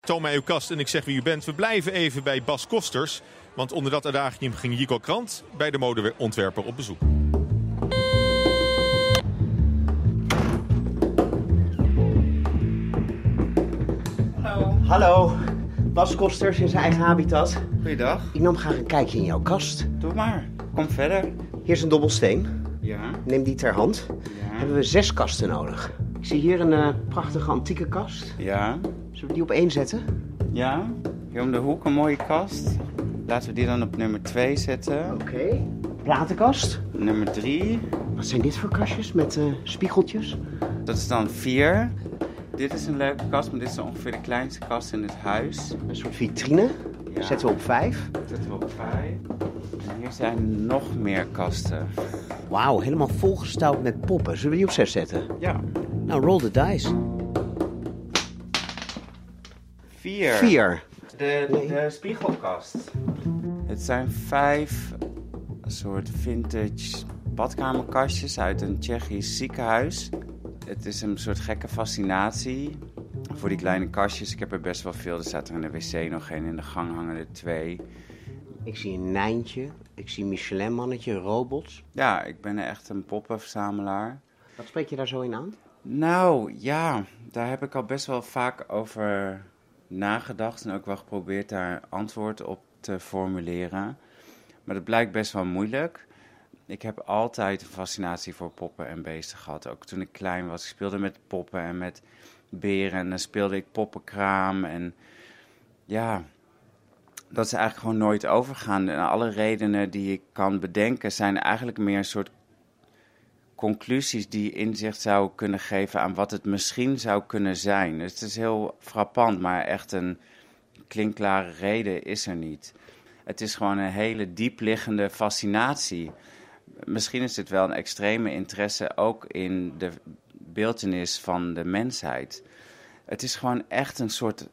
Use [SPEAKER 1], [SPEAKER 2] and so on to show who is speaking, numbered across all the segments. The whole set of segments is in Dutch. [SPEAKER 1] toon mij uw kast en ik zeg wie u bent. We blijven even bij Bas Kosters. Want onder dat adagium ging Jico Krant bij de modeontwerper op bezoek.
[SPEAKER 2] Hallo, Bas Kosters in zijn eigen habitat.
[SPEAKER 3] Goeiedag,
[SPEAKER 2] Ik nam graag een kijkje in jouw kast.
[SPEAKER 3] doe maar. Kom verder.
[SPEAKER 2] Hier is een dobbelsteen.
[SPEAKER 3] Ja,
[SPEAKER 2] Neem die ter hand.
[SPEAKER 3] ja,
[SPEAKER 2] Hebben we zes kasten nodig. Ik zie hier een eh, prachtige antieke kast.
[SPEAKER 3] ja,
[SPEAKER 2] Zullen we die op één zetten?
[SPEAKER 3] ja. Hier om de hoek een mooie kast. Laten we die dan op nummer 2 zetten.
[SPEAKER 2] Oké. Platenkast.
[SPEAKER 3] Nummer 3,
[SPEAKER 2] Wat zijn dit voor kastjes met eh, spiegeltjes?
[SPEAKER 3] dat is dan 4. Dit is een leuke kast, maar dit is ongeveer de kleinste kast in het huis.
[SPEAKER 2] Een soort vitrine.
[SPEAKER 3] Ja.
[SPEAKER 2] Zetten we op vijf.
[SPEAKER 3] Dat zetten we op 5. En hier zijn nog meer kasten.
[SPEAKER 2] Wauw, helemaal volgestouwd met poppen. Zullen we die op zes zetten?
[SPEAKER 3] Ja,
[SPEAKER 2] Nou, roll the dice.
[SPEAKER 3] 4.
[SPEAKER 2] Vier.
[SPEAKER 3] De,
[SPEAKER 2] Nee.
[SPEAKER 3] de spiegelkast. Het zijn vijf soort vintage badkamerkastjes uit een Tsjechisch ziekenhuis. Het is een soort gekke fascinatie voor die kleine kastjes. Ik heb er best wel veel. Er staat er in de wc nog één. In de gang hangen er twee.
[SPEAKER 2] Ik zie een Nijntje. Ik zie Michelin-mannetje, robots.
[SPEAKER 3] Ja, ik ben echt een poppenverzamelaar.
[SPEAKER 2] Wat spreek je daar zo in aan?
[SPEAKER 3] Nou ja, daar heb ik al best wel vaak over nagedacht en ook wel geprobeerd daar antwoord op te formuleren. Maar dat blijkt best wel moeilijk. Ik heb altijd een fascinatie voor poppen en beesten gehad. Ook toen ik klein was. Ik speelde met poppen en met beren. En dan speelde ik poppenkraam. En ja, dat is eigenlijk gewoon nooit overgaan. En alle redenen die ik kan bedenken zijn eigenlijk meer een soort conclusies die inzicht zou kunnen geven aan wat het misschien zou kunnen zijn. Dus het is heel frappant, maar echt een klinkklare reden is er niet. Het is gewoon een hele diepliggende fascinatie. Misschien is het wel een extreme interesse ook in de beeldenis van de mensheid. Het is gewoon echt een soort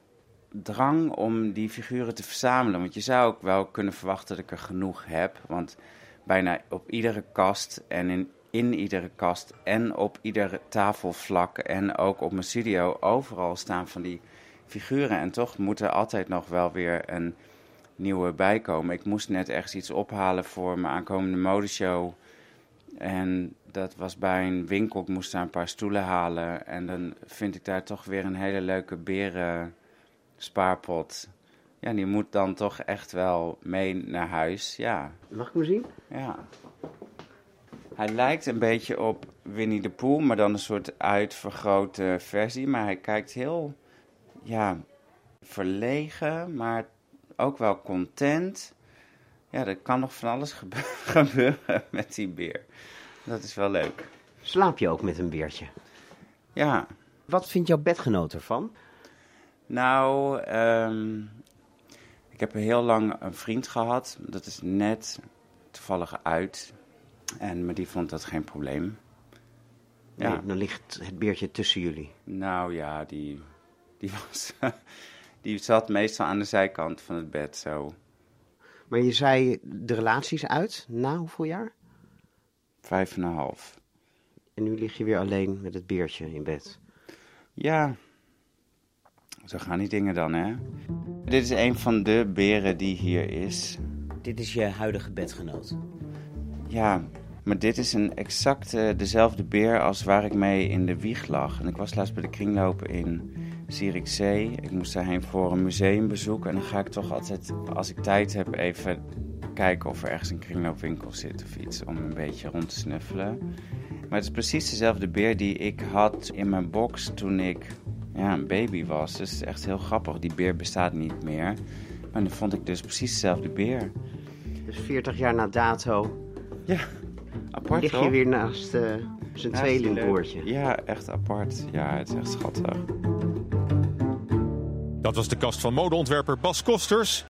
[SPEAKER 3] drang om die figuren te verzamelen. Want je zou ook wel kunnen verwachten dat ik er genoeg heb. Want bijna op iedere kast en in, in iedere kast en op iedere tafelvlak en ook op mijn studio overal staan van die figuren. En toch moet er altijd nog wel weer een nieuwe bij komen. Ik moest net ergens iets ophalen voor mijn aankomende modeshow. En dat was bij een winkel. Ik moest daar een paar stoelen halen. En dan vind ik daar toch weer een hele leuke beren spaarpot. Ja, die moet dan toch echt wel mee naar huis. Ja,
[SPEAKER 2] Mag ik hem zien?
[SPEAKER 3] ja. Hij lijkt een beetje op Winnie de Pooh, maar dan een soort uitvergrote versie. Maar hij kijkt heel, ja, verlegen, maar ook wel content. Ja, er kan nog van alles gebe- gebeuren met die beer. Dat is wel leuk.
[SPEAKER 2] Slaap je ook met een beertje?
[SPEAKER 3] Ja.
[SPEAKER 2] Wat vindt jouw bedgenoot ervan?
[SPEAKER 3] Nou, ehm, ik heb heel lang een vriend gehad. Dat is net toevallig uit. En, maar die vond dat geen probleem. Ja.
[SPEAKER 2] Nee, dan ligt het beertje tussen jullie.
[SPEAKER 3] Nou ja, die, die, was, die zat meestal aan de zijkant van het bed zo.
[SPEAKER 2] Maar je zei de relaties uit na hoeveel jaar?
[SPEAKER 3] Vijf en een half.
[SPEAKER 2] En nu lig je weer alleen met het beertje in bed.
[SPEAKER 3] Ja, zo gaan die dingen dan, hè? Dit is een van de beren die hier is.
[SPEAKER 4] Dit is je huidige bedgenoot.
[SPEAKER 3] Ja, maar dit is een exact eh, dezelfde beer als waar ik mee in de wieg lag. En ik was laatst bij de kringlopen in Zierikzee. Ik moest daarheen voor een museumbezoek. En dan ga ik toch altijd, als ik tijd heb, even kijken of er ergens een kringloopwinkel zit of iets. Om een beetje rond te snuffelen. Maar het is precies dezelfde beer die ik had in mijn box toen ik ja, een baby was. Dus het is echt heel grappig. Die beer bestaat niet meer. Maar dan vond ik dus precies dezelfde beer.
[SPEAKER 2] Dus 40 jaar na dato
[SPEAKER 3] Ja, apart
[SPEAKER 2] lig je
[SPEAKER 3] toch?
[SPEAKER 2] weer naast eh, zijn
[SPEAKER 3] Naast
[SPEAKER 2] tweelingbroertje.
[SPEAKER 3] die leuk- Ja, echt apart. Ja, het is echt schattig.
[SPEAKER 1] Dat was de kast van modeontwerper Bas Kosters.